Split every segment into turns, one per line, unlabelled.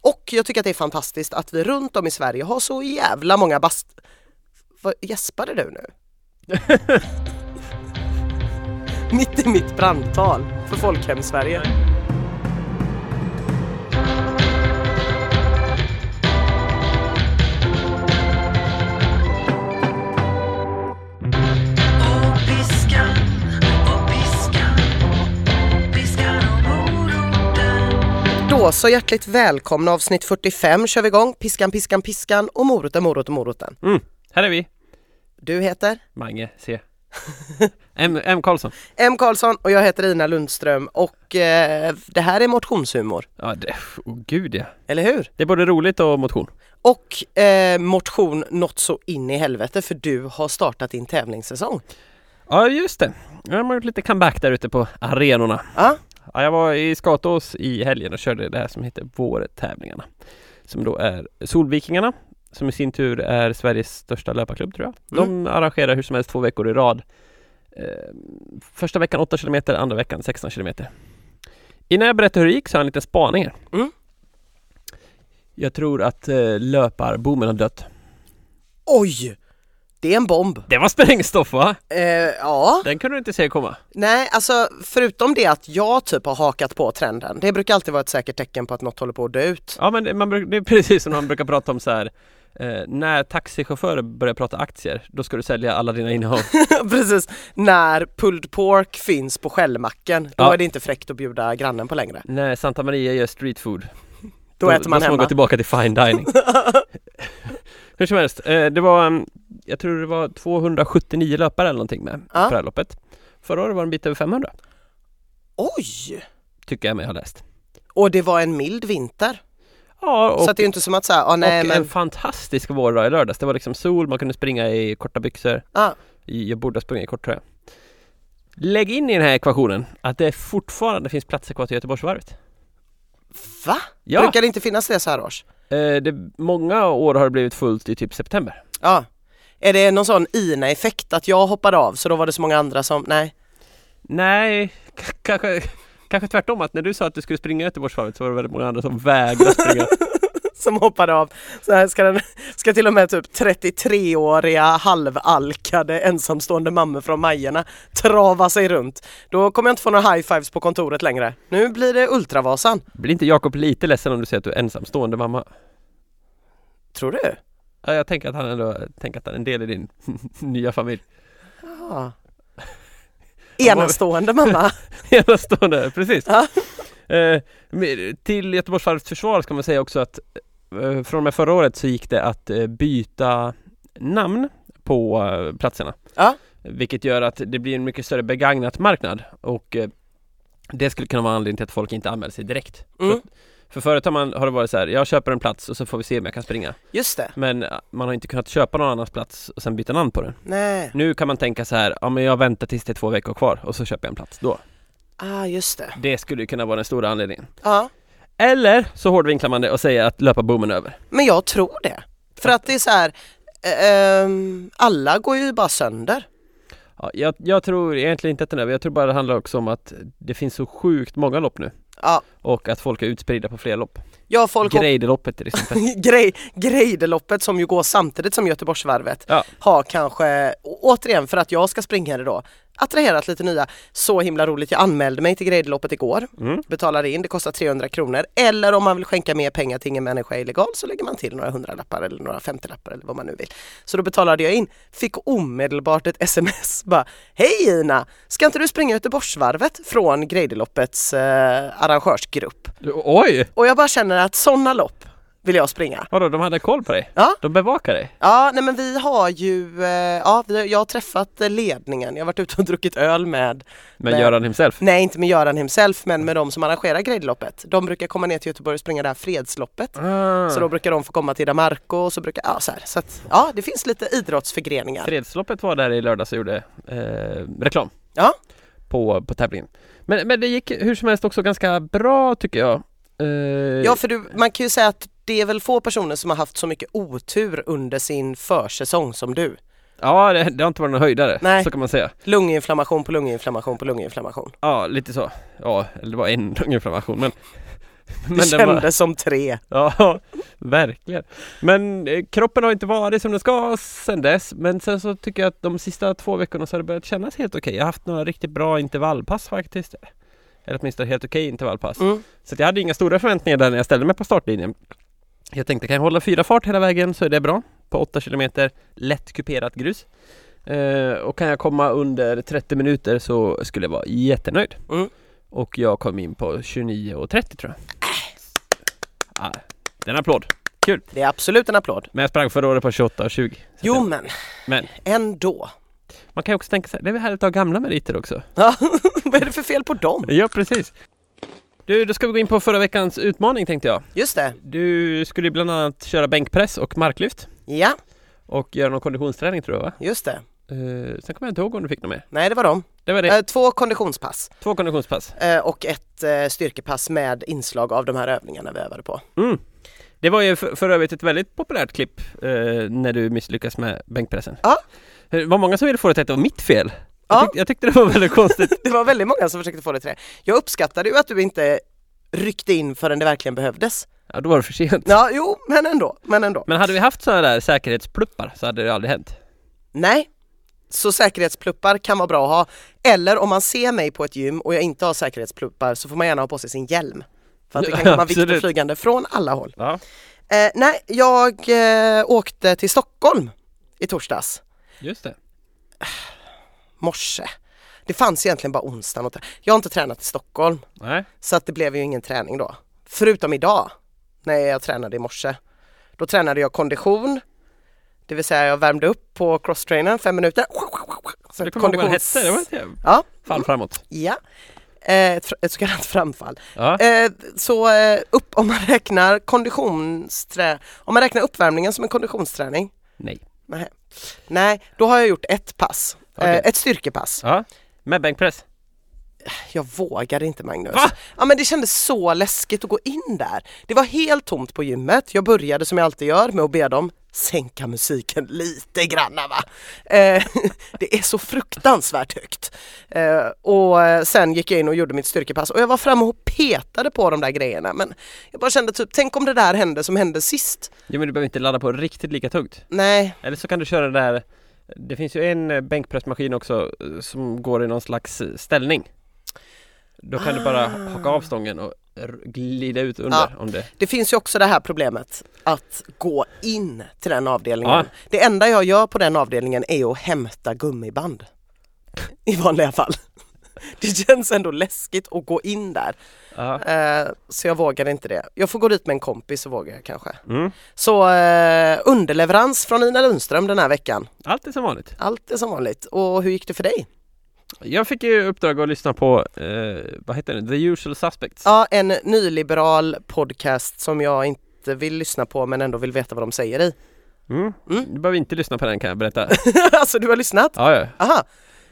Och jag tycker att det är fantastiskt att vi runt om i Sverige har så jävla många bast... Vad gäspade du nu? Mitt i mitt brandtal för Folkhem-Sverige. Då så hjärtligt välkomna avsnitt 45 kör vi igång. Piskan, piskan, piskan och moroten, moroten, moroten.
Mm, här är vi,
Du heter?
Mange C. M, M Karlsson.
M Karlsson och jag heter Ina Lundström och eh, det här är motionshumor,
Ja, det, oh, gud ja.
eller hur?
Det är både roligt och motion.
Och eh, motion något så in i helvete för du har startat din tävlingssäsong.
Ja, just det. Jag har gjort lite comeback där ute på arenorna.
Ja,
Ja, jag var i Skatås i helgen och körde det här som heter Vårtävlingarna. Som då är Solvikingarna, som i sin tur är Sveriges största löparklubb tror jag. De arrangerar hur som helst två veckor i rad. Eh, första veckan 8 km, andra veckan 16 km. Innan jag berättar hur det gick så har jag en liten spaning här.
Mm.
Jag tror att eh, löparboomen har dött.
oj! Det är en bomb.
Det var sprängstoff va?
Eh, ja,
Den kunde du inte se komma.
nej alltså förutom det att jag typ har hakat på trenden. Det brukar alltid vara ett säkert tecken på att något håller på att dö ut.
Ja men det- man, bruk- det är precis som man brukar prata om så här. Eh, när taxichaufförer börjar prata aktier, då ska du sälja alla dina innehav.
Precis, när pulled pork finns på skällmacken, då
Ja.
är det inte fräckt att bjuda grannen på längre.
när Santa Maria gör street food,
Då äter man
måste man
hemma.
gå tillbaka till fine dining. Hur som helst, eh, det var, mm, jag tror det var 279 löpare eller någonting med
Ja.
för det här loppet. Förra året var det en bit över 500,
Oj!
tycker jag mig ha läst.
Och det var en mild vinter.
Ja, och,
så att det är ju inte som att säga, ah, nej
och
men,
en fantastisk vårdag i lördags. Det var liksom sol, man kunde springa i korta byxor.
ja,
I- Jag borde ha sprungit i kort tröja. Lägg in i den här ekvationen att det fortfarande finns platser kvar till Göteborgsvarvet.
va?
Ja,
Brukar det inte finnas det så här års?
eh, det, många år har det blivit fullt i typ september.
Ja. Är det någon sån Ina-effekt att jag hoppade av så då var det så många andra som, nej.
Nej, k- kanske, kanske tvärtom att när du sa att du skulle springa Göteborgsvarvet så var det väldigt många andra som vägrade springa.
Som hoppade av. Så här ska, den, ska till och med typ 33-åriga halvalkade ensamstående mammor från Majerna trava sig runt. Då kommer jag inte få några high-fives på kontoret längre. Nu blir det Ultravasan.
Blir inte Jakob lite ledsen om du säger att du är ensamstående mamma?
Tror du?
Ja, Jag tänker att han ändå, tänker att han är en del i din nya familj.
Ja. Enastående mamma.
Enastående, precis.
Ja.
Eh, men till Göteborgsvarvets försvar ska man säga också att eh, från och med förra året så gick det att eh, byta namn på eh, platserna.
Ja.
Vilket gör att det blir en mycket större begagnat marknad och eh, det skulle kunna vara anledningen till att folk inte anmäler sig direkt.
Mm.
För förut har, man, har det varit så här, jag köper en plats och så får vi se om jag kan springa.
Just det.
Men eh, man har inte kunnat köpa någon annans plats och sen byta namn på den.
Nej.
Nu kan man tänka så här, ja men jag väntar tills det är två veckor kvar och så köper jag en plats då.
Ah, just det.
Det skulle ju kunna vara den stora anledningen.
Ja.
Eller så hårdvinklar man det och säger att löparboomen är över.
Men jag tror det. För att det är så här, eh, ehm, alla går ju bara sönder.
Ja, jag, jag tror egentligen inte att den är över, jag tror bara det handlar också om att det finns så sjukt många lopp nu
Ja,
och att folk är utspridda på fler lopp.
ja folk hopp-
Grejdeloppet till exempel.
Grej, Grejdeloppet som ju går samtidigt som Göteborgsvarvet
Ja.
har kanske, å- återigen för att jag ska springa det då, attraherat lite nya. Så himla roligt, jag anmälde mig till Grejdeloppet igår,
Mm.
betalade in, det kostar 300 kronor. Eller om man vill skänka mer pengar till ingen människa illegal så lägger man till några hundralappar eller några femtiolappar eller vad man nu vill. Så då betalade jag in, fick omedelbart ett sms bara Hej Ina, ska inte du springa Göteborgsvarvet från Grejdeloppets eh, arrangörsgrupp?
Oj!
Och jag bara känner att sådana lopp vill jag springa.
Vadå, de hade koll på dig?
Ja.
De bevakar dig?
Ja, nej men vi har ju, eh, ja, vi har, jag har träffat eh, ledningen, jag har varit ute och druckit öl med,
Men
Nej.
Göran himself?
nej inte med Göran himself, men med de som arrangerar Grejdeloppet. De brukar komma ner till Göteborg och springa det här fredsloppet.
Ah.
Så då brukar de få komma till Damarco och så brukar, ja så här, så att, ja det finns lite idrottsförgreningar.
Fredsloppet var där i lördags och gjorde eh, reklam
Ja,
på, på tävlingen. Men, men det gick hur som helst också ganska bra tycker jag. Eh,
ja för du, man kan ju säga att det är väl få personer som har haft så mycket otur under sin försäsong som du.
ja det, det har inte varit någon höjdare,
Nej.
så kan man säga.
Lunginflammation på lunginflammation på lunginflammation.
Ja, lite så. Ja, eller det var en lunginflammation men
Det kändes som tre.
Ja, verkligen. Men eh, kroppen har inte varit som den ska sen dess. Men sen så tycker jag att de sista två veckorna så har det börjat kännas helt okej. Jag har haft några riktigt bra intervallpass faktiskt. Eller åtminstone helt okej intervallpass.
Mm.
Så att jag hade inga stora förväntningar där när jag ställde mig på startlinjen. Jag tänkte kan jag hålla fyra fart hela vägen så är det bra. På 8 kilometer lätt kuperat grus. Eh, och kan jag komma under 30 minuter så skulle jag vara jättenöjd.
Mm.
Och jag kom in på 29.30 tror jag. Ah, det är en applåd.
Det är absolut en applåd.
Men jag sprang förra året på 28.20. Så
Jo
att
men,
Men.
ändå.
det- Man kan ju också tänka sig, det är väl härligt att ha gamla meriter också.
Ja, Vad är det för fel på dem?
Ja, precis. Du, då ska vi gå in på förra veckans utmaning tänkte jag.
Just det,
Du skulle ju bland annat köra bänkpress och marklyft.
ja
Och göra någon konditionsträning tror jag va?
just det.
Eh, sen kommer jag inte ihåg om du fick något mer.
Nej det var dem.
Det var det.
Eh, Två konditionspass
Två konditionspass.
eh, och ett eh, styrkepass med inslag av de här övningarna vi övade på.
Mm. Det var ju för, för övrigt ett väldigt populärt klipp eh, när du misslyckas med bänkpressen.
Ja.
Det var många som ville få det till att det var mitt fel.
Ja.
Jag, tyck, jag tyckte det var väldigt konstigt.
Det var väldigt många som försökte få det till det. Jag uppskattade ju att du inte ryckte in förrän det verkligen behövdes.
Ja, då var det för sent.
Ja, jo, men ändå, men ändå.
Men hade vi haft sådana där säkerhetspluppar så hade det aldrig hänt.
Nej, så säkerhetspluppar kan vara bra att ha. Eller om man ser mig på ett gym och jag inte har säkerhetspluppar så får man gärna ha på sig sin hjälm. För att det kan
Ja,
komma vikter
absolut.
flygande från alla håll.
Ja.
Eh, nej, jag eh, åkte till Stockholm i torsdags
Just det.
morse. Det fanns egentligen bara onsdagen. Och jag har inte tränat i Stockholm
Nej.
så att det blev ju ingen träning då. Förutom idag när jag tränade i morse. Då tränade jag kondition, det vill säga jag värmde upp på crosstrainern fem minuter. Sen
Det kommer jag ihåg vad den
konditions-
hette. Det var ett
Ja,
fall framåt.
ja. Eh, Ett, fr- ett så kallat framfall.
Ja.
Eh, så eh, upp om man räknar konditionsträ... Om man räknar uppvärmningen som en konditionsträning
Nej.
Nej. Nej, då har jag gjort ett pass.
Okej.
Eh, ett styrkepass.
Ja. Med bänkpress.
Jag vågade inte Magnus.
Va?
Ja men det kändes så läskigt att gå in där. Det var helt tomt på gymmet. Jag började som jag alltid gör med att be dem sänka musiken lite granna va. Eh, det är så fruktansvärt högt. Eh, och eh, sen gick jag in och gjorde mitt styrkepass och jag var framme och petade på de där grejerna men jag bara kände typ, tänk om det där hände som hände sist.
Jo men du behöver inte ladda på riktigt lika tungt.
Nej,
Eller så kan du köra det där Det finns ju en eh, bänkpressmaskin också eh, som går i någon slags eh, ställning. Då kan du bara
Ah.
haka av stången och r- glida ut under om det.
Det finns ju också det här problemet att gå in till den avdelningen.
Ja.
Det enda jag gör på den avdelningen är att hämta gummiband. I vanliga fall. Det känns ändå läskigt att gå in där.
Ja.
Eh, så jag vågar inte det. Jag får gå dit med en kompis så vågar jag kanske.
Mm.
Så eh, underleverans från Ina Lundström den här veckan.
Allt är som vanligt.
Allt är som vanligt. Och hur gick det för dig?
Jag fick ju uppdrag att lyssna på, eh, vad heter den, The Usual Suspects.
Ja, en nyliberal podcast som jag inte vill lyssna på men ändå vill veta vad de säger i.
Mm.
Mm.
Du behöver inte lyssna på den kan jag berätta.
alltså du har lyssnat?
ja, ja.
Aha.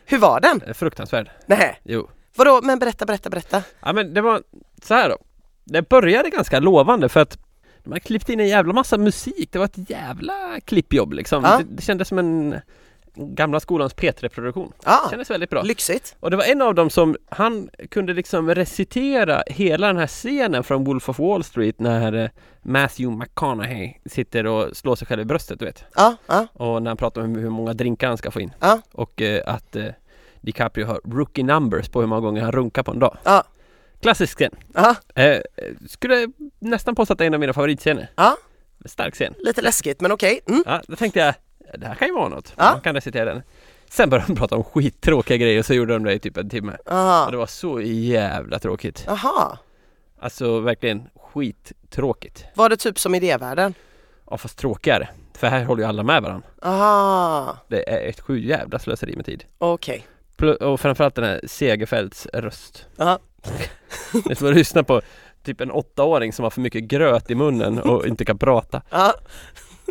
Hur var den?
Fruktansvärd.
Nej.
Jo.
Vadå, men berätta, berätta, berätta.
Ja men det var så här då. Det började ganska lovande för att de hade klippt in en jävla massa musik. Det var ett jävla klippjobb liksom.
Ja.
Det, det kändes som en gamla skolans P3-produktion. Det
Ja,
kändes väldigt bra.
lyxigt.
Och det var en av dem som, han kunde liksom recitera hela den här scenen från Wolf of Wall Street när eh, Matthew McConaughey sitter och slår sig själv i bröstet, du vet.
Ja, ja,
Och när han pratar om hur många drinkar han ska få in
Ja.
Och eh, att eh, DiCaprio har rookie numbers på hur många gånger han runkar på en dag
Ja.
Klassisk scen
ja.
eh, Skulle nästan påstå att det är en av mina favoritscener
Ja.
Stark scen
Lite läskigt, men okej. Mm.
Ja, då tänkte jag Det här kan ju vara något
Ja.
Man kan recitera den Sen började de prata om skittråkiga grejer och så gjorde de det i typ en timme Och
Aha.
det var så jävla tråkigt
Aha.
Alltså verkligen skittråkigt
Var det typ som idévärlden?
Ja fast tråkigare För här håller ju alla med varandra
Aha,
Det är ett sju jävla slöseri med tid
okej.
Pl- Och framförallt den här Segerfeldts röst.
Ja.
Det får lyssna på typ en åttaåring som har för mycket gröt i munnen och inte kan prata.
Ja.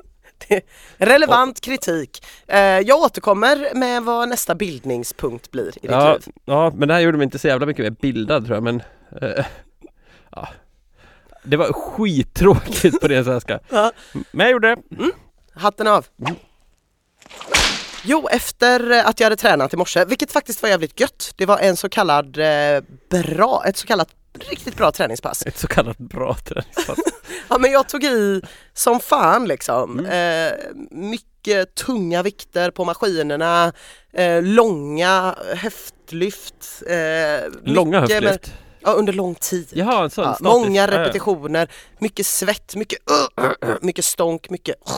Det- Relevant kritik. Eh, Jag återkommer med vad nästa bildningspunkt blir i ditt
Ja,
liv.
ja, men det här gjorde mig inte så jävla mycket mer bildad tror jag, men eh, ja. Det var skittråkigt på det svenska.
Ja.
Men jag gjorde det.
Hatten av.
Mm.
Jo, efter att jag hade tränat i morse, vilket faktiskt var jävligt gött. Det var en så kallad eh, bra, ett så kallat riktigt bra träningspass.
Ett så kallat bra träningspass.
Ja men jag tog i som fan liksom.
Mm.
Eh, mycket tunga vikter på maskinerna, eh, långa höftlyft. Eh,
Långa
mycket-
höftlyft.
Ja under lång tid.
Jaha, en sån
Ja,
statisk.
många
Ja, ja.
repetitioner, mycket svett, mycket mycket stånk, mycket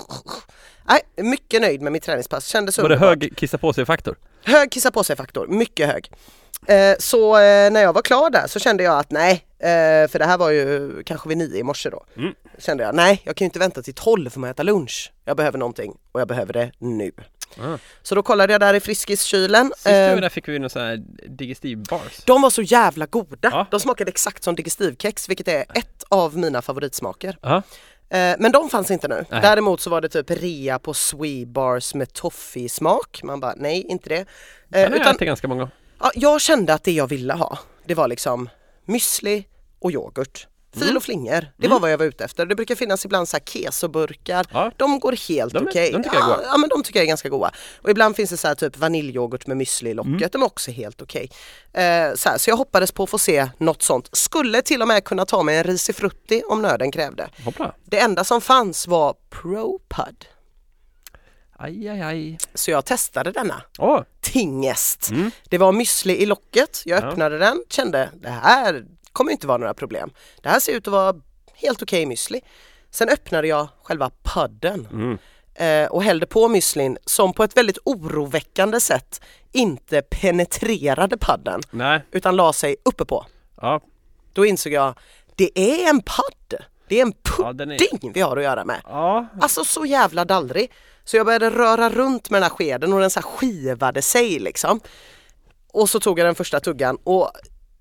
Nej, mycket nöjd med mitt träningspass. Kändes
Var det
underbart.
hög kissa på sig-faktor?
Hög kissa på sig-faktor, mycket hög. Eh, så eh, när jag var klar där så kände jag att nej, eh, för det här var ju kanske vid nio i morse då.
Mm.
Kände jag, nej jag kan ju inte vänta till tolv för att äta lunch. Jag behöver någonting och jag behöver det nu.
Ah.
Så då kollade jag där i Friskiskylen.
Sist vi
Eh,
var där fick vi någon sån här digestiv bars.
de var så jävla goda!
Ja.
De smakade exakt som digestivkex vilket är ett av mina favoritsmaker.
Ja,
Eh, men de fanns inte nu.
Nej.
Däremot så var det typ rea på Swebars med toffee-smak. Man bara nej, inte det. Eh,
den har jag ätit ganska många.
Ja, jag kände att det jag ville ha, det var liksom müsli och yoghurt. Fil
Mm.
och flingor, det var vad jag var ute efter. Det brukar finnas ibland så här kesoburkar,
Ja.
de går helt
De är-
okej.
de tycker jag är
ja,
goda.
ja men de tycker jag är ganska goda. Och ibland finns det så här typ vaniljyoghurt med müsli i locket,
Mm.
de är också helt okej. Eh, så, här, så jag hoppades på att få se något sånt. Skulle till och med kunna ta mig en risifrutti om nöden krävde.
Hoppla.
Det enda som fanns var ProPud.
Aj, aj, aj.
Så jag testade denna
Åh,
tingest.
Mm.
Det var müsli i locket, jag
Ja.
öppnade den, kände det här kommer inte vara några problem. Det här ser ut att vara helt okej müsli. Sen öppnade jag själva pudden
Mm.
eh, och hällde på müslin som på ett väldigt oroväckande sätt inte penetrerade pudden
nej.
utan la sig uppe på.
Ja,
Då insåg jag, det är en pudd, det är en
Ja, den är-
pudding vi har att göra med.
ja.
Alltså så jävla dallrig. Så jag började röra runt med den här skeden och den så här skivade sig liksom. Och så tog jag den första tuggan och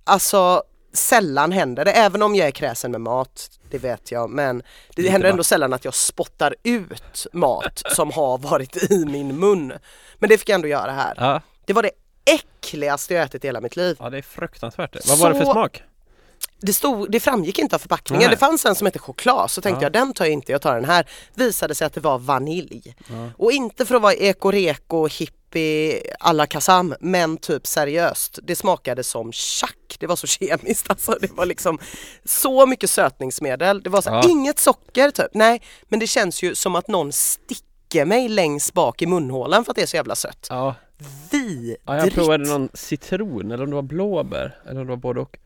alltså sällan händer det, även om jag är kräsen med mat, det vet jag, men det händer ändå sällan att jag spottar ut mat som har varit i min mun. Men det fick jag ändå göra här.
ja.
Det var det äckligaste jag ätit i hela mitt liv.
Ja det är fruktansvärt. Vad var det för
Så-
smak?
Det, stod, det framgick inte av förpackningen,
Nej.
det fanns en som hette choklad så tänkte
Ja.
jag den tar jag inte, jag tar den här. Visade sig att det var vanilj. Och inte för att vara ekoreko, hippie, alla kasam, men typ seriöst. Det smakade som tjack, det var så kemiskt alltså. Det var liksom så mycket sötningsmedel. Det var så här,
Ja.
inget socker typ. Nej, men det känns ju som att någon sticker mig längst bak i munhålan för att det är så jävla sött.
Ja,
Vidrigt!
ja jag provade någon citron eller om det var blåbär eller om det var både och.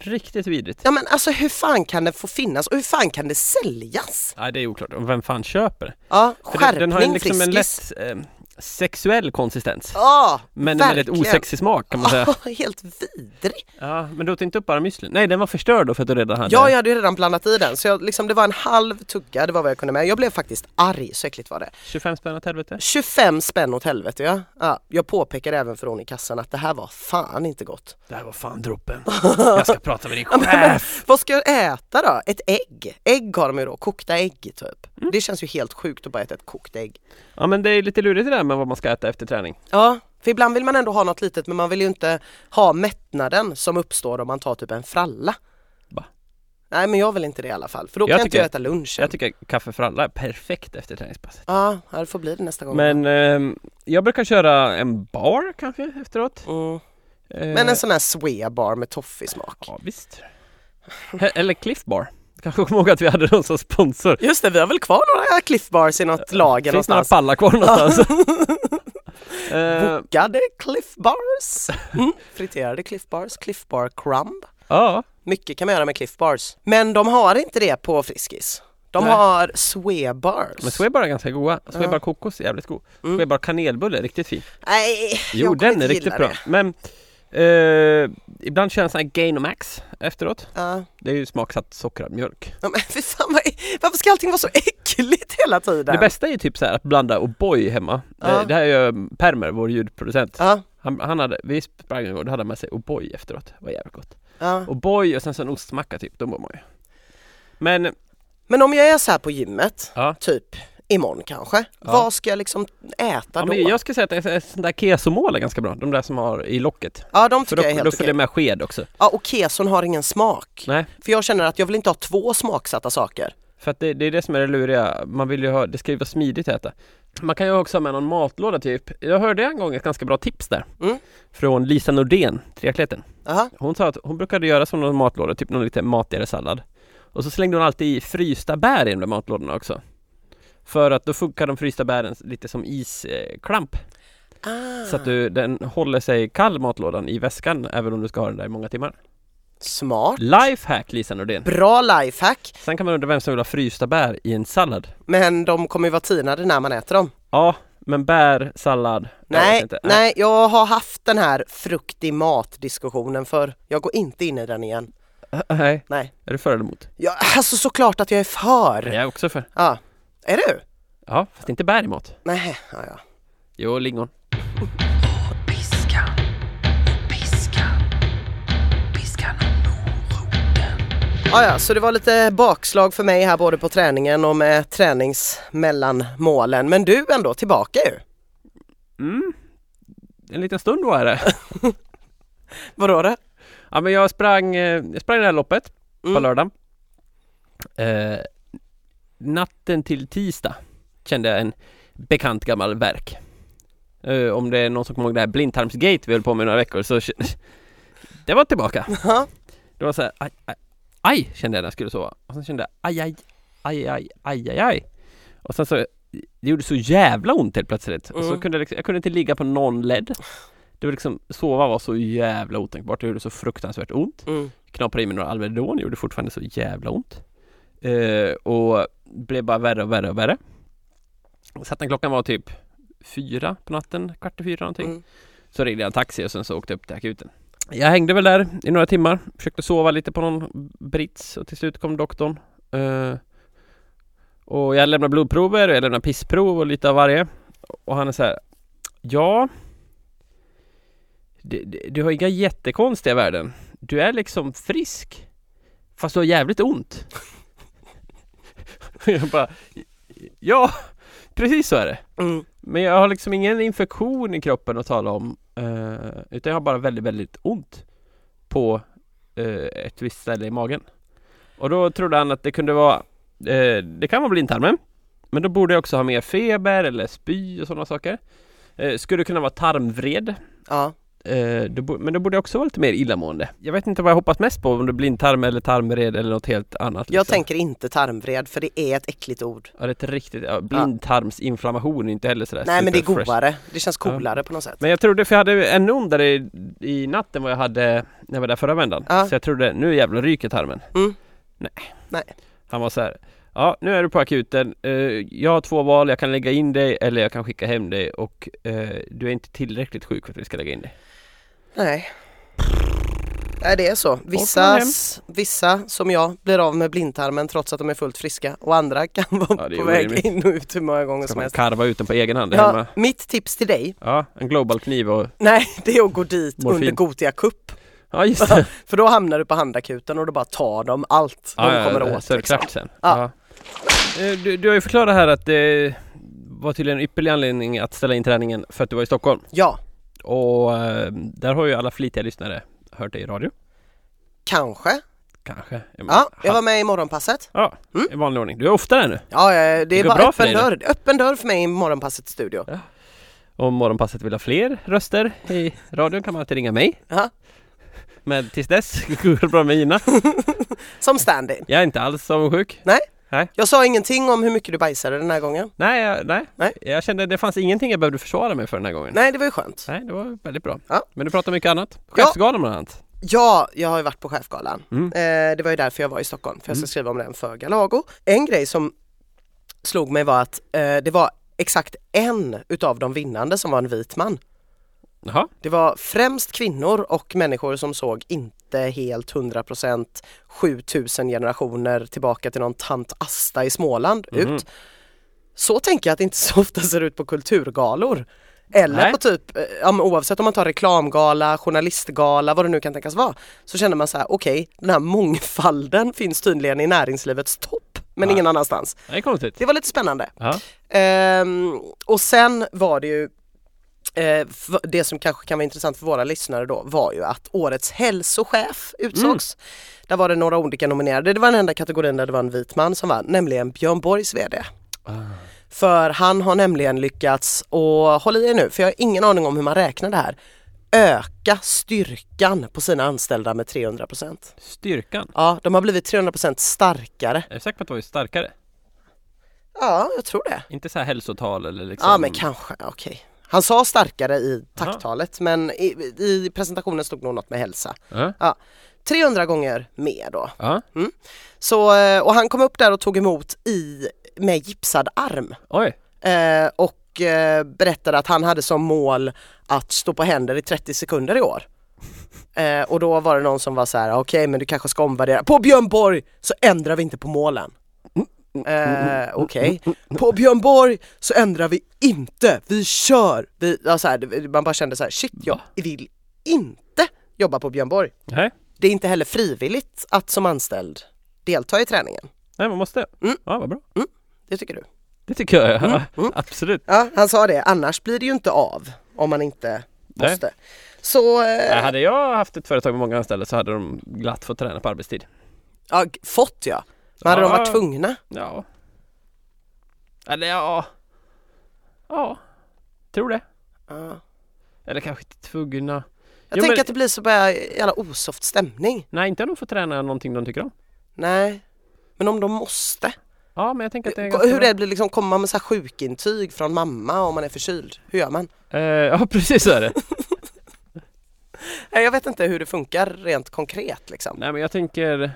Riktigt vidrigt.
Ja men alltså hur fan kan det få finnas och hur fan kan det säljas?
Nej det är oklart. Och Vem fan köper?
Ja,
För den,
skärpning
den har ju liksom en
Friskis.
lätt eh, sexuell konsistens.
Ja,
men en väldigt osexig smak kan man säga.
Ja, helt vidrig.
Ja, men du åt inte upp bara müslin? Nej den var förstörd då för att du redan hade
Ja, jag hade ju redan blandat i den så jag, liksom, det var en halv tugga, det var vad jag kunde med. Jag blev faktiskt arg, så äckligt var det.
25 spänn åt helvete.
25 spänn åt helvete ja. ja. Jag påpekade även för hon i kassan att det här var fan inte gott.
Det här var fan droppen. Jag ska prata med din chef.
Vad ska jag äta då? Ett ägg? Ägg har de ju då, kokta ägg typ.
Mm.
Det känns ju helt sjukt att bara äta ett kokt ägg.
Ja men det är lite lurigt det där med vad man ska äta efter träning.
Ja, för ibland vill man ändå ha något litet men man vill ju inte ha mättnaden som uppstår om man tar typ en fralla.
Va?
Nej men jag vill inte det i alla fall för då
Jag
kan inte
tycker-
jag äta lunch.
Jag tycker kaffe för alla är perfekt efter träningspasset.
Ja, ja, det får bli det nästa gång.
Men ehm, jag brukar köra en bar kanske efteråt.
mm.
Eh,
men en sån här Swea-bar med toffee-smak.
Ja visst. He- Eller Cliff Bar. Kanske kommer ihåg att vi hade dem som sponsor.
Just det, vi har väl kvar några Cliff Bars i något lager
Finns några
någonstans.
pallar kvar någonstans? Eh,
Bokade Cliff Bars. Mm. Friterade Cliff Bars, Cliff Bar Crumb.
Ja,
Mycket kan man göra med Cliff Bars. Men de har inte det på Friskis. De
Nej.
har Swea Bars.
men Swebar är ganska goda. Swebar kokos är jävligt god.
Mm.
Swebar kanelbulle är riktigt fin.
Nej,
Jo,
jag kommer
den
inte
är riktigt
gilla
bra.
det.
Men eh, ibland kör jag en sån här Gainomax efteråt.
Ja.
Det är ju smaksatt sockrad mjölk.
Ja, men fy fan, vad, varför ska allting vara så äckligt hela tiden?
Det bästa är ju typ så här att blanda O'boy hemma. Eh,
Ja.
Det, det här är ju Permer, vår ljudproducent.
Ja,
Han, han hade, vi sprang en gång, då hade han med sig O'boy efteråt. Det var jävligt gott.
ja.
O'boy och sen så en ostmacka typ, de mår man ju. Men,
Men om jag är så här på gymmet,
ja.
typ imorgon kanske,
Ja.
vad ska jag liksom äta
ja
då?
men jag skulle säga att det är sånt där kesomål är ganska bra, de där som har i locket.
Ja de
För
tycker
då,
jag är
då
helt
får
okej.
det med sked också.
Ja och keson har ingen smak.
Nej,
För jag känner att jag vill inte ha två smaksatta saker.
för att det, det är det som är det luriga. Man vill ju ha, det ska ju vara smidigt att äta. Man kan ju också ha med någon matlåda typ. Jag hörde en gång ett ganska bra tips där.
Mm.
Från Lisa Nordén, triatleten.
Aha.
Hon sa att hon brukade göra som någon matlåda, typ någon lite matigare sallad. Och så slängde hon alltid i frysta bär i de där matlådorna också. För att då funkar de frysta bären lite som isklamp.
Ah.
Så att du, den håller sig kall matlådan i väskan även om du ska ha den där i många timmar.
Smart.
Lifehack Lisa Nordén!
Bra lifehack.
Sen kan man undra vem som vill ha frysta bär i en sallad?
Men de kommer ju vara tinade när man äter dem.
Ja, men bär, sallad? jag vet
Nej,
inte.
nej, jag har haft den här fruktig mat diskussionen för jag går inte in i den igen.
Nej.
Nej.
Är du för eller emot?
Jag, alltså såklart att jag är för.
Jag
Ja.
är också för.
Är du?
Ja, fast inte bär i mat.
Nej, ja, ja.
Jo, lingon.
Piska, piska, piska någon moroten.
Ja, ja, så det var lite bakslag för mig här både på träningen och med träningsmellanmålen. Men du ändå tillbaka ju.
Mm. En liten stund var det.
Vadå det?
Ja, men jag sprang, eh, jag sprang det här loppet på
Mm.
lördagen. Eh, natten till tisdag kände jag en bekant gammal verk. Eh, om det är någon som kommer ihåg det här blindtarmsgate vi höll på med i några veckor så det var tillbaka.
Ja.
Det var så här, aj, aj, aj kände jag när jag skulle sova. Och sen kände jag aj, aj, aj, aj, aj, aj, aj. Och sen så, det gjorde så jävla ont helt plötsligt. Och så
Mm.
kunde jag, liksom, jag kunde inte ligga på någon led. Det var liksom, sova var så jävla otänkbart. Det gjorde så fruktansvärt ont.
Mm.
Knaprade i mig några Alvedon, gjorde fortfarande så jävla ont. Eh, och blev bara värre och värre och värre. Så att när klockan var typ fyra på natten, kvart i fyra någonting.
Mm.
Så ringde jag en taxi och sen så åkte jag upp till akuten. Jag hängde väl där i några timmar, försökte sova lite på någon brits och till slut kom doktorn. Eh, och jag lämnade blodprover och jag lämnade pissprov och lite av varje. Och han är så här, ja, du, du- du har inga jättekonstiga värden. Du är liksom frisk, fast du har jävligt ont. Och jag bara, ja, precis så är det.
Mm.
Men jag har liksom ingen infektion i kroppen att tala om eh, Utan jag har bara väldigt, väldigt ont På eh, ett visst ställe i magen Och då trodde han att det kunde vara eh, Det kan vara blindtarmen Men då borde jag också ha mer feber eller spy och sådana saker eh, Skulle kunna vara tarmvred
Ja.
eh, då, bo- Men då borde jag också vara lite mer illamående Jag vet inte vad jag hoppas mest på Om det är blindtarm eller tarmvred eller något helt annat
Jag
liksom.
tänker inte tarmvred för det är ett äckligt ord.
Ja, det är ett riktigt ja, Blindtarmsinflammation är inte heller sådär
Nej men det är
superfresh.
godare. Det känns coolare på något sätt.
Men jag trodde, för jag hade ännu ondare i, i natten vad jag hade när jag var där förra vändan.
Ja.
Så jag trodde, nu jävlar ryker tarmen.
Mm.
Nej.
Nej.
Han var så här. Ja, nu är du på akuten. Eh, jag har två val, jag kan lägga in dig eller jag kan skicka hem dig och eh, du är inte tillräckligt sjuk för att vi ska lägga in dig.
Nej. Nej det är så.
man
Vissa,
hem.
vissa som jag blir av med blindtarmen trots att de är fullt friska och andra kan
Ja,
vara
det är
på väg
orimligt.
in och ut hur många gånger
Ska
som
man
helst.
karva ut den på egen hand ja.
Ja,
hemma?
mitt tips till dig,
Ja, en globalkniv och...
nej det är att gå dit
Morfin.
under Gotia Cup.
Ja, just det.
För då hamnar du på handakuten och då bara tar de allt de
ja,
kommer
ja,
åt.
så är det
liksom.
klart sen.
Ja.
Ja. Eh, Du, du har ju förklarat här att det var tydligen en ypperlig anledning att ställa in träningen för att du var i Stockholm.
Ja,
Och eh, där har ju alla flitiga lyssnare hört dig i radio.
kanske.
Kanske.
Ja, jag var med i morgonpasset.
ja
Mm.
i vanlig ordning. Du är ofta där nu.
Ja, ja, det
Det
är
går
bara
bra för
öppen
dig nu.
dörr. Öppen dörr för mig i morgonpassets studio.
Om morgonpasset vill ha fler röster i radion kan man alltid ringa mig.
Ja,
Men tills dess går det bra med Gina.
som stand-in.
Jag är inte alls avundsjuk.
Jag sa ingenting om hur mycket du bajsade den här gången.
Nej, jag, nej.
Nej.
jag kände det fanns ingenting jag behövde försvara mig för den här gången.
Nej, det var ju skönt.
Nej, det var väldigt bra.
Ja.
Men du pratar mycket annat.
Ja.
Chefsgalan bland annat.
Ja, jag har ju varit på Chefgalan.
Mm.
Eh, det var ju därför jag var i Stockholm, för jag ska
Mm.
skriva om den för Galago. En grej som slog mig var att eh, det var exakt en utav de vinnande som var en vit man.
Jaha.
Det var främst kvinnor och människor som såg inte helt 100% 7000 generationer tillbaka till någon tant Asta i Småland
Mhm.
ut. Så tänker jag att det inte så ofta ser ut på kulturgalor. Eller
Nej.
på typ, eh, ja, men oavsett om man tar reklamgala, journalistgala, vad det nu kan tänkas vara. Så känner man så här, okej, den här mångfalden finns tydligen i näringslivets topp, men
Ja.
ingen annanstans.
Det är konstigt.
Det var lite spännande.
Ja.
Ehm, och sen var det ju eh, f- det som kanske kan vara intressant för våra lyssnare då var ju att årets hälsochef utsågs. Där var det några Ah. olika nominerade. Det var den enda kategorin där det var en vit man som vann, nämligen Björn Borgs VD. För han har nämligen lyckats, och håll i er nu för jag har ingen aning om hur man räknar det här, öka styrkan på sina anställda med 300 procent.
Styrkan?
Ja, de har blivit 300 procent starkare.
Är du säker på att det var ju starkare?
Ja, jag tror det.
Inte så här hälsotal eller liksom
Ja men kanske, okej. Han sa starkare i tacktalet men i, i presentationen stod nog något med hälsa.
Ja.
Ja, 300 gånger mer då.
Ja.
Så, eh, och han kom upp där och tog emot i, med gipsad arm
Oj,
eh, och eh, berättade att han hade som mål att stå på händer i 30 sekunder i år. Eh, och då var det någon som var så här, okej men du kanske ska omvärdera. På Björn Borg så ändrar vi inte på målen. Eh, okej. På Björn Borg så ändrar vi inte, vi kör! Vi, ja, så här, det- man bara kände så här, shit jag vill inte jobba på Björn Borg.
nej,
Det är inte heller frivilligt att som anställd delta i träningen.
nej man måste
Mm.
Ja vad bra
Det tycker du?
Det tycker jag, ja. absolut
Ja, han sa det. Annars blir det ju inte av om man inte
Nej.
måste. Så,
Nej,
eh,
Hade jag haft ett företag med många anställda så hade de glatt fått träna på arbetstid
ja, g- fått ja. Men hade
Ja.
de varit tvungna?
Ja Eller ja Ja Tror det
Ja.
Eller kanske inte tvungna
Jag
Jo,
tänker
men-
att det blir så bara jävla osoft stämning.
Nej inte om de får träna någonting de tycker om
Nej. Men om de måste?
Ja men jag tänker att det är
Ko-
ganska
Hur
bra.
det blir liksom, kommer man med så här sjukintyg från mamma om man är förkyld? Hur gör man?
Eh, Ja precis så är det
Nej, Jag vet inte hur det funkar rent konkret liksom.
Nej men jag tänker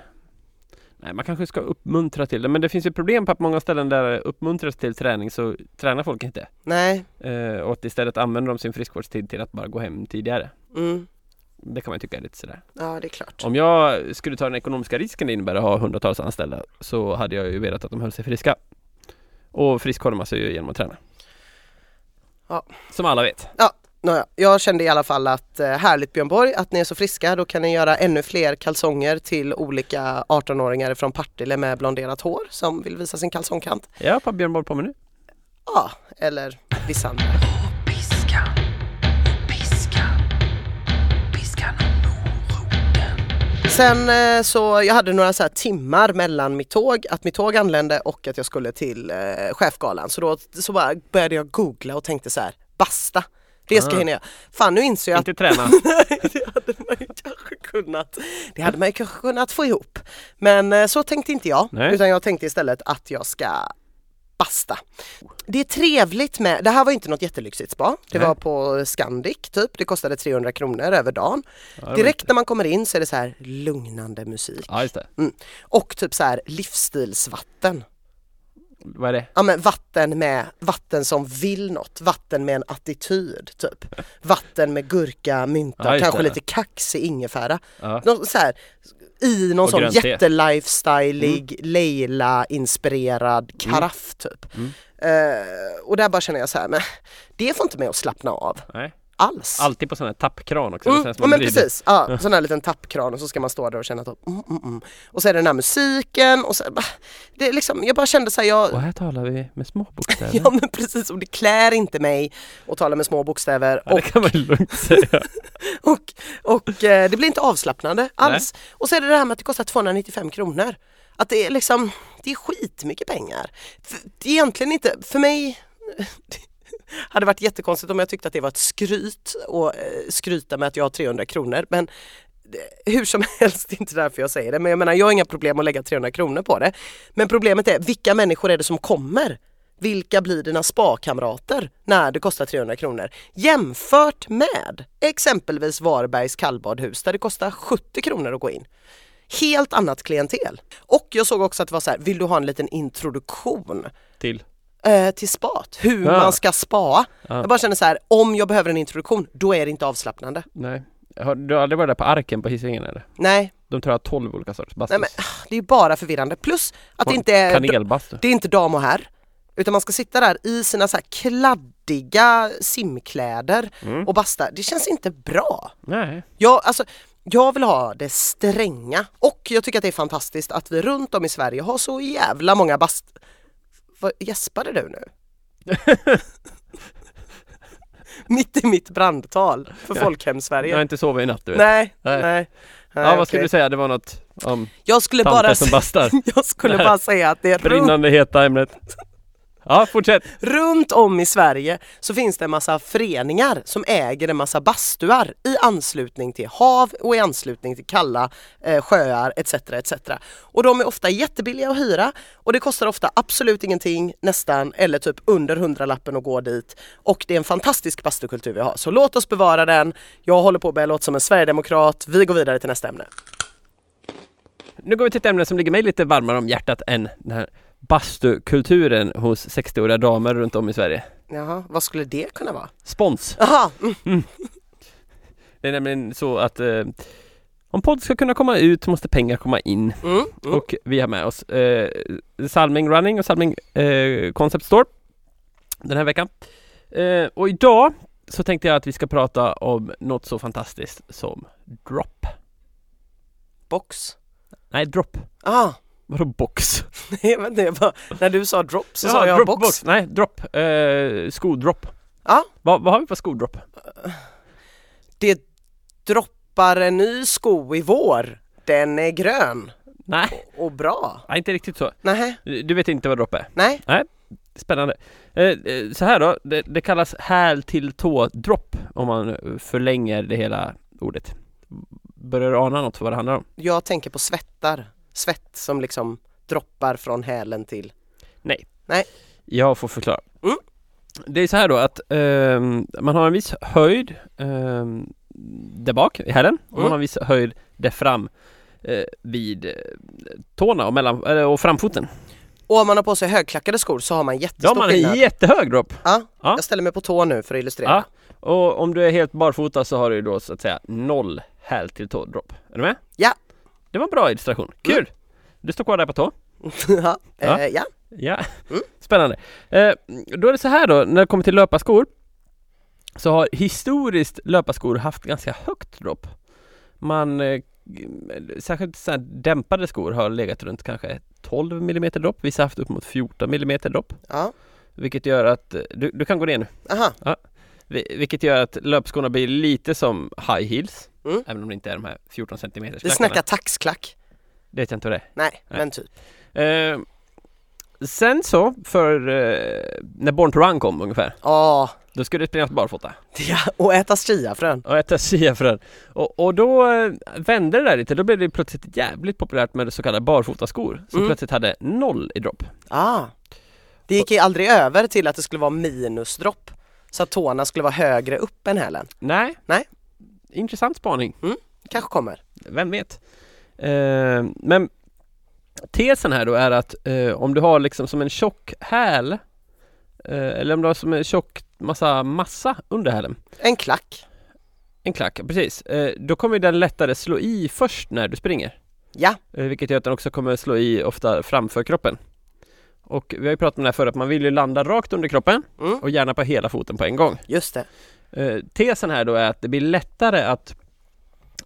Nej man kanske ska uppmuntra till det men det finns ju problem på att många ställen där det uppmuntras till träning så tränar folk inte
Nej.
Eh, och att istället använder de sin friskvårdstid till att bara gå hem tidigare.
Mm.
Det kan man ju tycka är lite sådär.
Ja, det är klart.
Om jag skulle ta den ekonomiska risken det innebär att ha hundratals anställda så hade jag ju velat att de höll sig friska. Och frisk håller man sig ju genom att träna.
Ja.
Som alla vet.
Ja, nåja. jag kände i alla fall att eh, härligt Björn Borg att ni är så friska. Då kan ni göra ännu fler kalsonger till olika 18-åringar från Partille med blonderat hår som vill visa sin kalsongkant.
Ja, på Björn Borg på mig nu.
Ja, eller vissa andra.
Piskan, piskan, piskan och moroten.
Sen eh, så, jag hade några så här timmar mellan mitt tåg, att mitt tåg anlände och att jag skulle till eh, chefgalan. Så då så bara började jag googla och tänkte så här, basta! Det ska
Ah.
hinna jag. Fan nu inser jag att
Inte träna.
det hade man ju kanske kunnat. Det hade man ju kanske kunnat få ihop. Men eh, så tänkte inte jag,
Nej.
utan jag tänkte istället att jag ska basta. Det är trevligt med, det här var ju inte något jättelyxigt spa. Det
Nej.
var på Scandic typ, det kostade 300 kronor över dagen.
Ja, det var
Direkt
inte-
när man kommer in så är det så här lugnande musik.
Ja, just det.
Mm. Och typ så här livsstilsvatten.
Vad är det?
Ja men vatten med, vatten som vill något, vatten med en attityd typ. Vatten med gurka,
Ja,
mynta,
just
kanske
det.
lite kaxig ingefära.
Ja.
Nå- så här, I någon
Och
sån
grönt te. Mm.
jättelifestylig, Leila-inspirerad karaff typ. Eh, och där bara känner jag så här, men det får inte mig att slappna av
Nej.
alls.
Alltid på sån här tappkran också.
Mm,
Det känns
ja,
som man
men
vrider.
precis, ja, sån här liten tappkran och så ska man stå där och känna typ mm, mm, mm. Och så är det den här musiken och så bara, det är liksom, jag bara kände så här, jag,
Och här talar vi med små bokstäver.
Ja men precis, och det klär inte mig att tala med små bokstäver
Ja, det
och,
kan man ju lugnt säga.
och, och eh, det blir inte avslappnande alls. Och så är det det här med att det kostar 295 kronor. Att det är liksom, det är skitmycket pengar. För, det är egentligen inte, för mig hade varit jättekonstigt om jag tyckte att det var ett skryt och eh, skryta med att jag har 300 kronor men det- hur som helst, det är inte därför jag säger det, men jag menar jag har inga problem att lägga 300 kronor på det. Men problemet är, vilka människor är det som kommer? Vilka blir dina spakamrater när det kostar 300 kronor? Jämfört med exempelvis Varbergs kallbadhus där det kostar 70 kronor att gå in helt annat klientel. Och jag såg också att det var så här, vill du ha en liten introduktion
Till.
eh, till spat? Hur
Ja.
man ska spa.
Ja.
Jag bara känner så här, om jag behöver en introduktion, då är det inte avslappnande.
Nej. Har du aldrig varit där på Arken på Hisingen eller?
Nej,
De tror jag har 12 olika sorters bastus.
nej men ah, det är bara förvirrande. Plus att det inte är,
Kanelbastu.
det är inte dam och herr. Utan man ska sitta där i sina så här kladdiga simkläder
Mm.
och basta. Det känns inte bra.
Nej.
Jag, alltså, jag vill ha det stränga och jag tycker att det är fantastiskt att vi runt om i Sverige har så jävla många bast... Vad gäspade du nu? mitt i mitt brandtal för
Jag har
Folkhem-Sverige.
inte sovit i natt du vet.
Nej, nej.
Nej.
Nej,
ja, vad
okej.
skulle du säga? Det var något om
Jag skulle
tanter
bara,
som bastar.
jag skulle bara säga att det är runt
Brinnande heta ämnet. Ja, fortsätt!
Runt om i Sverige så finns det en massa föreningar som äger en massa bastuar i anslutning till hav och i anslutning till kalla eh, sjöar etc. etc. Och de är ofta jättebilliga att hyra och det kostar ofta absolut ingenting nästan eller typ under hundralappen att gå dit. Och det är en fantastisk bastukultur vi har så låt oss bevara den. Jag håller på att börja låta som en sverigedemokrat. Vi går vidare till nästa ämne.
Nu går vi till ett ämne som ligger mig lite varmare om hjärtat än den här bastukulturen hos 60-åriga damer runt om i Sverige.
Jaha, vad skulle det kunna vara?
Spons!
Aha, mm.
Det är nämligen så att eh, om podd ska kunna komma ut måste pengar komma in.
Mm. Mm.
Och vi har med oss eh, Salming Running och Salming eh, Concept Store den här veckan. Eh, och idag så tänkte jag att vi ska prata om något så fantastiskt som drop.
Box.
Nej, drop.
Ah,
Vadå box?
nej, men det var, när du sa drop så sa jag
drop,
box.
Nej, drop. Eh, skodrop.
Ja.
Vad, vad har vi för skodrop?
Det droppar en ny sko i vår. Den är grön
Nej,
och bra.
nej, inte riktigt så.
Nej,
Du vet inte vad drop är?
nej.
Spännande. Eh, eh, så här då, det, det kallas häl till tå drop om man förlänger det hela ordet. Börjar du ana något för vad det handlar om?
Jag tänker på svettar. Svett som liksom droppar från hälen till.
Jag får förklara. Uh.
Mm.
Det är så här då att ehm, man har en viss höjd ehm, där bak i hälen och man
Mm.
har en viss höjd där fram eh, vid eh, tårna och, mellan, eller, och framfoten.
Och om man har på sig högklackade skor så har man
Då har
jättestor
man en
skillnad.
jättehög drop.
Ja,
Ja.
jag ställer mig på tå nu för att illustrera.
Ja. Och om du är helt barfota så har du ju då så att säga noll häl till tå drop. Är du med?
Ja.
Det var en bra illustration. Kul! Du står kvar där på tå.
ja.
Ja.
Eh, ja.
Ja,
Mm.
spännande. Eh, då är det så här då, när det kommer till löparskor så har historiskt löparskor haft ganska högt dropp. Man, eh, särskilt så här dämpade skor har legat runt kanske 12 mm dropp, vissa har haft upp mot 14 mm dropp.
ja.
Vilket gör att, eh, du, du kan gå ner nu,
Aha.
Vi- vilket gör att löpskorna blir lite som high heels,
Mm.
även om det inte är de här 14 cm
Vi snackar taxklack.
Det vet jag inte vad det är.
Nej,
Nej.
men typ.
Eh, sen så, för eh, när Born to Run kom ungefär,
Ja,
då skulle det springas barfota
ja. och äta chiafrön.
och äta chiafrön. Och, och då eh, vände det där lite, då blev det plötsligt jävligt populärt med så kallade barfotaskor som
Mm.
plötsligt hade noll i dropp.
Ah. Det gick ju aldrig över till att det skulle vara minusdropp. Så att tårna skulle vara högre upp än hälen.
Nej.
Nej.
Intressant spaning,
Kanske kommer.
vem vet? Eh, men tesen här då är att eh, om du har liksom som en tjock häl eh, eller om du har som en tjock massa massa under hälen
En klack.
En klack, precis. Eh, Då kommer ju den lättare slå i först när du springer.
Ja,
Eh, Vilket gör att den också kommer slå i ofta framför kroppen. Och vi har ju pratat om det här förut, att man vill ju landa rakt under kroppen
mm.
och gärna på hela foten på en gång.
just det.
Eh, Tesen här då är att det blir lättare att,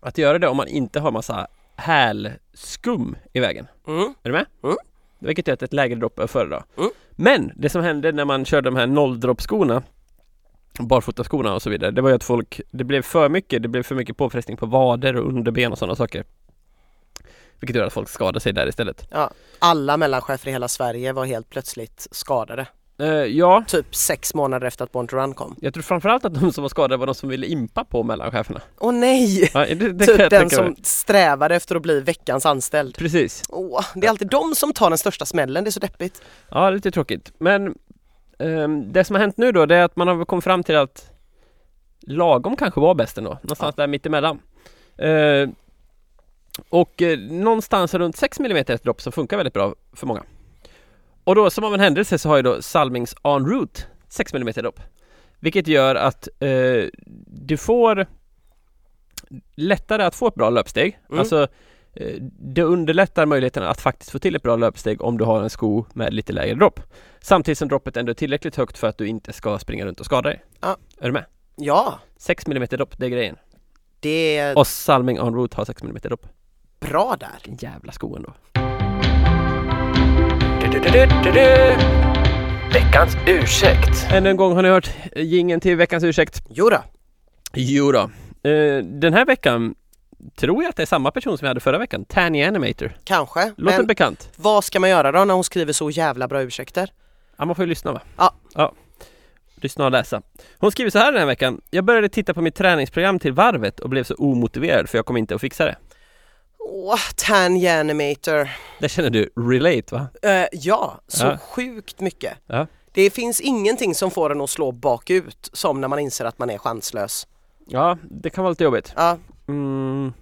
att göra det om man inte har massa hälskum i vägen.
Mm.
Är du med?
Mm.
Vilket gör att ett lägre dropp är att föredra.
Mm.
Men det som hände när man körde de här nolldroppskorna barfotaskorna och så vidare, det var ju att folk, det blev för mycket, det blev för mycket påfrestning på vader och underben och sådana saker. Vilket gör att folk skadar sig där istället.
Alla mellanchefer i hela Sverige var helt plötsligt skadade.
Eh, ja,
Typ sex månader efter att Born to Run kom.
jag tror framförallt att de som var skadade var de som ville impa på mellancheferna.
Åh nej!
Ja, det, det kan
Typ
jag
den
tänka
som
mig.
strävade efter att bli veckans anställd.
Precis.
Åh, det är alltid de som tar den största smällen, det är så deppigt.
Ja, lite tråkigt. Men ehm, det som har hänt nu då, det är att man har väl kommit fram till att lagom kanske var bäst ändå. Någonstans där mittemellan. Uh, och eh, någonstans runt 6 mm ett dropp som funkar väldigt bra för många. Och då som av en händelse så har ju då Salmings En Route 6 mm dropp. Vilket gör att eh, du får lättare att få ett bra löpsteg.
Mm.
Alltså eh, det underlättar möjligheten att faktiskt få till ett bra löpsteg om du har en sko med lite lägre dropp. Samtidigt som droppet ändå är tillräckligt högt för att du inte ska springa runt och skada dig.
Ja.
Är du med?
Ja,
6 mm dropp, det är grejen.
det är
Och Salming En Route har 6 mm dropp.
bra där.
Vilken jävla sko ändå.
Veckans ursäkt.
Ännu en gång har ni hört gingen till veckans ursäkt.
Jodå.
Jo då. Eh, Den här veckan tror jag att det är samma person som vi hade förra veckan, Tanny Animator.
kanske.
Låter
Men
bekant.
vad ska man göra då när hon skriver så jävla bra ursäkter?
Ja, man får ju lyssna va?
Ja.
Lyssna och läsa. Hon skriver så här den här veckan. Jag började titta på mitt träningsprogram till varvet och blev så omotiverad för jag kom inte att fixa det.
Åh, Tanganimator.
Där känner du relate va?
Eh, ja, så
Ja.
sjukt mycket.
Ja.
Det finns ingenting som får en att slå bakut som när man inser att man är chanslös.
Ja, det kan vara lite jobbigt.
Ja,
Mm.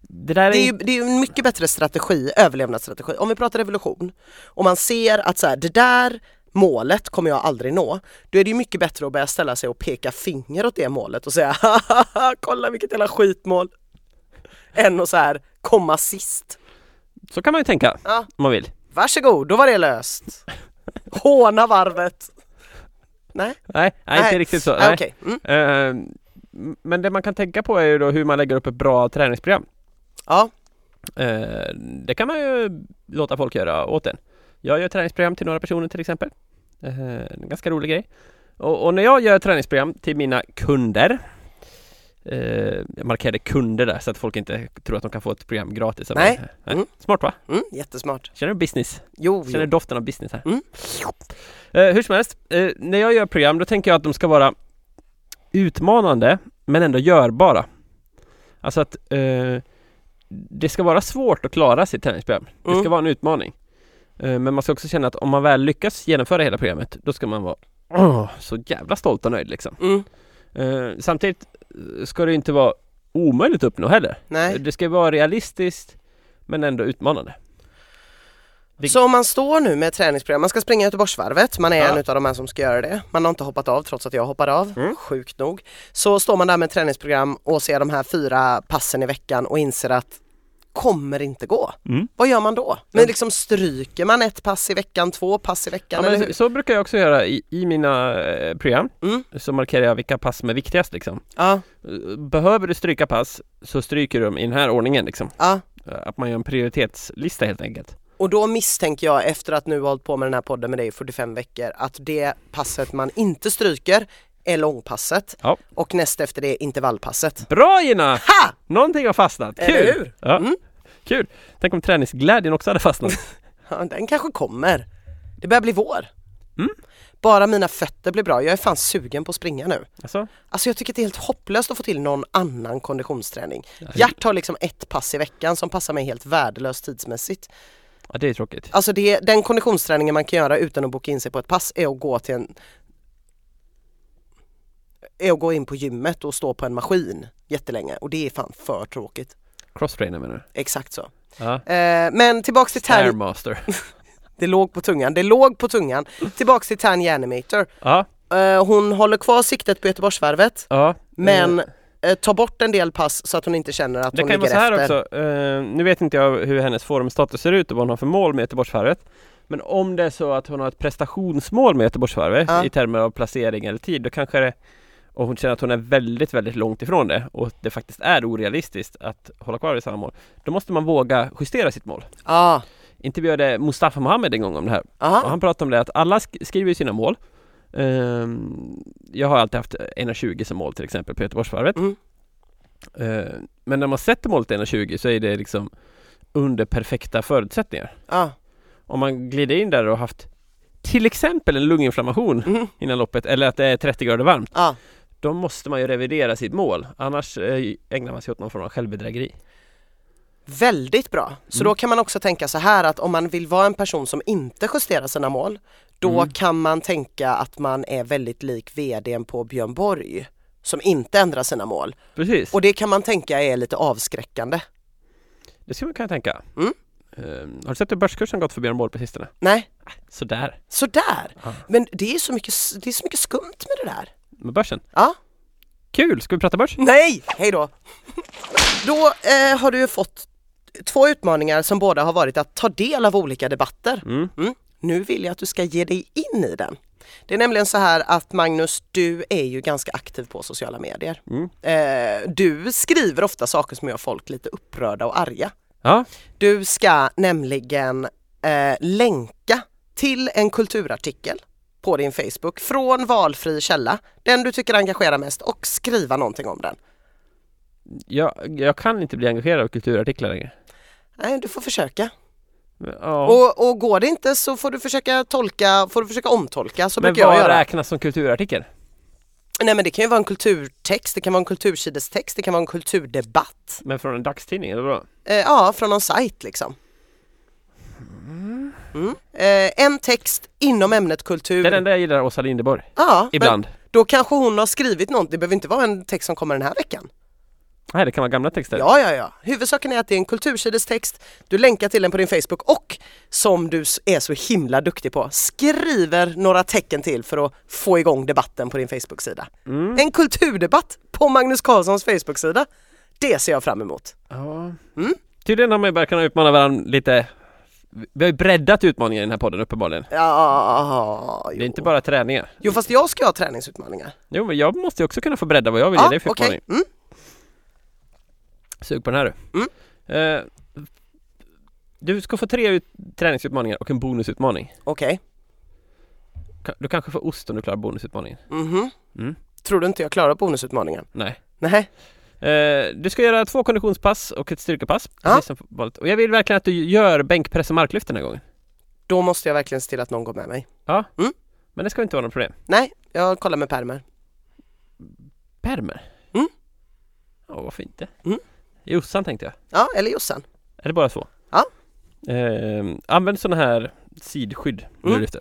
Det där är,
det, är ju,
in-
det är ju en mycket bättre strategi, överlevnadsstrategi. Om vi pratar revolution och man ser att så här, det där målet kommer jag aldrig nå. Då är det ju mycket bättre att börja ställa sig och peka finger åt det målet och säga "Hahaha, kolla vilket jävla skitmål. Än att så här komma sist.
Så kan man ju tänka
Ja.
om man vill.
Varsågod, då var det löst. Håna varvet. Nej,
Nej, nej, inte riktigt så.
Nej,
Nej.
okej. Mm.
Eh, men det man kan tänka på är ju då hur man lägger upp ett bra träningsprogram.
Ja,
Eh, det kan man ju låta folk göra åt en. Jag gör träningsprogram till några personer till exempel. Eh, en ganska rolig grej. Och, och när jag gör träningsprogram till mina kunder eh, jag markerade kunder där så att folk inte tror att de kan få ett program gratis av
Nej.
mig. Eh,
Mm.
Smart va?
mm, jättesmart.
Känner du business?
Jo,
Känner
jo.
doften av business här.
Mm.
Eh, hur som helst, eh, när jag gör program då tänker jag att de ska vara utmanande men ändå görbara. Alltså att eh, det ska vara svårt att klara sitt träningsprogram. Det ska
Mm.
vara en utmaning. Eh, men man ska också känna att om man väl lyckas genomföra hela programmet då ska man vara åh, så jävla stolt och nöjd liksom.
Mm.
Eh, samtidigt eh, ska det ju inte vara omöjligt att uppnå heller. Eh,
Nej.
Det ska vara realistiskt men ändå utmanande. det-
Så om man står nu med ett träningsprogram, man ska springa Göteborgsvarvet, man är
Ja.
en utav de här som ska göra det. Man har inte hoppat av trots att jag hoppade av,
Mm.
sjukt nog. Så står man där med ett träningsprogram och ser de här fyra passen i veckan och inser att kommer inte gå.
Mm.
Vad gör man då?
Ja.
Men liksom stryker man ett pass i veckan, två pass i veckan
Ja, men
eller
så,
hur?
så brukar jag också göra i, i mina eh, program.
Mm.
Så markerar jag vilka pass som är viktigast liksom.
Ja,
Eh, Behöver du stryka pass så stryker du dem i den här ordningen liksom.
ja.
Eh, Att man gör en prioritetslista helt enkelt.
Och då misstänker jag efter att nu ha hållit på med den här podden med dig i 45 veckor att det passet man inte stryker är långpasset
Ja.
och näst efter det är intervallpasset.
Bra Gina!
Ha!
Någonting har fastnat! Kul!
Eller hur?
Ja.
Mm.
Kul! Tänk om träningsglädjen också hade fastnat.
Ja, den kanske kommer. Det börjar bli vår.
Mm.
Bara mina fötter blir bra. Jag är fan sugen på att springa nu.
alltså,
Alltså jag tycker att det är helt hopplöst att få till någon annan konditionsträning. Hjärt har liksom ett pass i veckan som passar mig helt värdelöst tidsmässigt.
ja, det är tråkigt.
Alltså det, den konditionsträningen man kan göra utan att boka in sig på ett pass är att gå till en är att gå in på gymmet och stå på en maskin jättelänge och det är fan för tråkigt.
Crosstrainer menar du?
Exakt så.
Ja.
Eh, men tillbaks till Tan,
Airmaster.
det låg på tungan, det låg på tungan. Tillbaks till Tan Animator.
ja,
Eh, hon håller kvar siktet på Göteborgsvarvet
ja.
men eh, tar bort en del pass så att hon inte känner att
Mm. Det
hon
kan ju vara
ligger
så här
efter.
också, eh, nu vet inte jag hur hennes formstatus ser ut och vad hon har för mål med Göteborgsvarvet Men om det är så att hon har ett prestationsmål med Göteborgsvarvet
Ja.
i termer av placering eller tid, då kanske det och hon känner att hon är väldigt, väldigt långt ifrån det och det faktiskt är orealistiskt att hålla kvar vid samma mål. Då måste man våga justera sitt mål.
Ja,
Intervjuade Mustafa Mohamed en gång om det här och
aha,
han pratade om det att alla sk- skriver ju sina mål Ehm, Jag har alltid haft 1,20 som mål till exempel på Göteborgsvarvet
Mm.
Ehm, Men när man sätter målet 1,20 så är det liksom under perfekta förutsättningar
ja,
Om man glider in där och haft till exempel en lunginflammation
mm,
innan loppet eller att det är 30 grader varmt
ja.
Då måste man ju revidera sitt mål annars eh, ägnar man sig åt någon form av självbedrägeri
Väldigt bra. Så
Mm.
då kan man också tänka så här att om man vill vara en person som inte justerar sina mål, då
Mm.
kan man tänka att man är väldigt lik vdn på Björn Borg som inte ändrar sina mål.
Precis!
Och det kan man tänka är lite avskräckande.
Det skulle man kunna tänka
Mm.
Ehm, Har du sett hur börskursen gått för Björn Borg på sistone?
Nej,
Sådär!
sådär.
Ja.
Men det är, så mycket, det är så mycket skumt med det där.
Med börsen?
Ja.
Kul! Ska vi prata börs?
Nej, hej då. Då eh, har du ju fått två utmaningar som båda har varit att ta del av olika debatter.
Mm.
Nu vill jag att du ska ge dig in i den. Det är nämligen så här att Magnus, du är ju ganska aktiv på sociala medier.
Mm.
Eh, du skriver ofta saker som gör folk lite upprörda och arga.
Ja,
Du ska nämligen eh, länka till en kulturartikel på din Facebook från valfri källa, den du tycker engagerar mest och skriva någonting om den.
jag, jag kan inte bli engagerad av kulturartiklar längre.
Nej, du får försöka.
Ja.
Och, och går det inte så får du försöka tolka, får du försöka omtolka, så
men
brukar jag
vad
göra.
räknas som kulturartikel?
Nej men det kan ju vara en kulturtext, det kan vara en kultursidestext, det kan vara en kulturdebatt.
Men från en dagstidning, eller vadå?
Eh, ja, från någon sajt liksom. Mm. Eh, en text inom ämnet kultur.
Det är den där jag gillar, Åsa Linderborg.
ja, Men
Ibland.
då kanske hon har skrivit något, det behöver inte vara en text som kommer den här veckan.
Nej, det kan vara gamla texter.
Ja, ja, ja. Huvudsaken är att det är en kultursidestext, du länkar till den på din Facebook och som du s- är så himla duktig på, skriver några tecken till för att få igång debatten på din Facebook-sida.
Mm.
En kulturdebatt på Magnus Carlssons Facebook-sida. Det ser jag fram emot.
Ja.
Mm.
Tydligen har man ju börjat kunna utmana varandra lite Vi har ju breddat utmaningen i den här podden uppenbarligen
Ja,
Det
jo.
är inte bara träningar
jo fast jag ska ha träningsutmaningar.
Jo men jag måste ju också kunna få bredda vad jag vill ge dig för
okej.
utmaning
Mm.
Sug på den här du eh, Du ska få tre ut- träningsutmaningar och en bonusutmaning
Okej.
Ka- Du kanske får ost om du klarar bonusutmaningen
Mhm.
Mm.
Tror du inte jag klarar bonusutmaningen?
Nej
Nej.
eh, Du ska göra två konditionspass och ett styrkepass precis
Ja.
som på valet. Och jag vill verkligen att du gör bänkpress och marklyft den här gången
Då måste jag verkligen se till att någon går med mig.
Men det ska inte vara något problem
Nej, jag kollar med pärmer.
Pärmer?
Mm.
Ja, varför inte?
Mm.
Jossan tänkte jag.
Ja, eller Jossan.
Är det bara så?
Ja.
Ehm, använd sådana här sidskydd när du
Mm.
lyfter.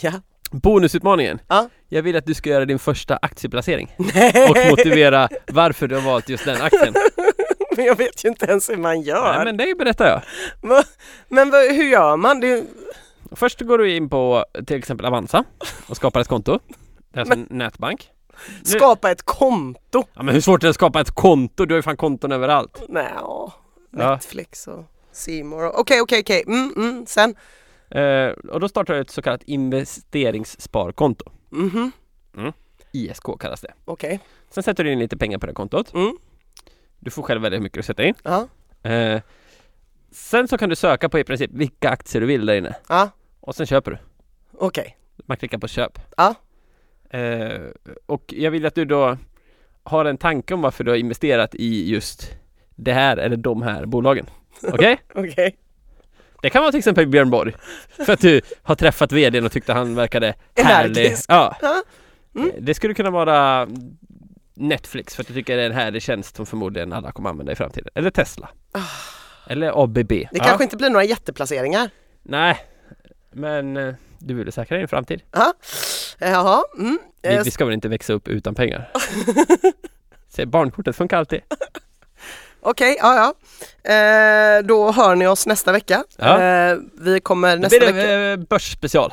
Ja.
Bonusutmaningen.
Ja.
Jag vill att du ska göra din första aktieplacering
Nej.
och motivera varför du har valt just den aktien.
Men jag vet ju inte ens hur man gör.
Nej,
men
men det berättar jag.
vad- hur gör man? Det är ju...
Först går du in på till exempel Avanza och skapar ett konto. Det är alltså en nätbank. Nu-
Skapa ett konto.
Ja, men hur svårt är det att skapa ett konto? Du har ju fan konton överallt.
Nej, ja.
Ja.
Netflix och C More. Okej, okej, okej. Mm, mm. Sen.
Eh, och då startar du ett så kallat investeringssparkonto.
Mhm.
ISK kallas det.
Okej.
Sen sätter du in lite pengar på det kontot.
Mm.
Du får själv välja hur mycket du sätter in.
Ja.
Eh, sen så kan du söka på i princip vilka aktier du vill där inne.
Ja.
Och sen köper du.
Okej.
Man klickar på köp.
Ja.
Eh, och jag vill att du då har en tanke om varför du har investerat i just det här eller de här bolagen. Okej?
Okej.
Det kan vara till exempel Björn Borg. För att du har träffat vdn och tyckte han verkade härlig.
Energisk.
Ja.
Ja. Mm.
Eh, Det skulle kunna vara Netflix för att du tycker det är en härlig tjänst som förmodligen alla kommer använda i framtiden. Eller Tesla. Eller ABB.
Ah. Det
Ja.
kanske inte blir några jätteplaceringar.
Nej, men eh, du vill säkra din framtid.
Ja. Jaha. Mm.
Vi,
Eh,
vi ska väl inte växa upp utan pengar? Se, barnkortet funkar alltid.
Okej, ja ja. Eh, då hör ni oss nästa vecka.
Ja.
Eh, vi kommer
Då
nästa
blir det
vecka.
eh, börsspecial.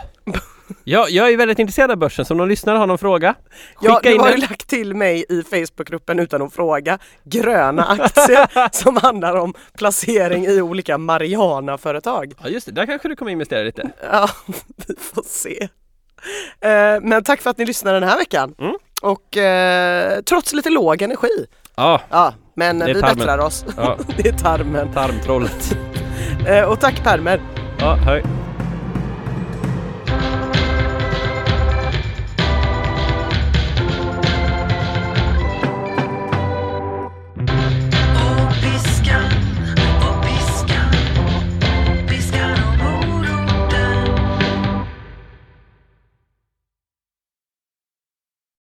Jag, jag är väldigt intresserad av börsen, så om någon lyssnare har någon fråga, skicka
Ja, du
in
har ju
den.
lagt till mig i Facebookgruppen utan att fråga gröna aktier som handlar om placering i olika Mariana-företag.
Ja just det, där kanske du kommer investera lite.
Ja, vi får se. Eh, men tack för att ni lyssnade den här veckan.
Mm.
Och eh, trots lite låg energi.
Ja,
Ja, men
Det är
vi
tarmen.
bättrar oss.
ja um
Det är tarmen.
tarmtrollet.
Eh, och tack Permer.
Ja, hej.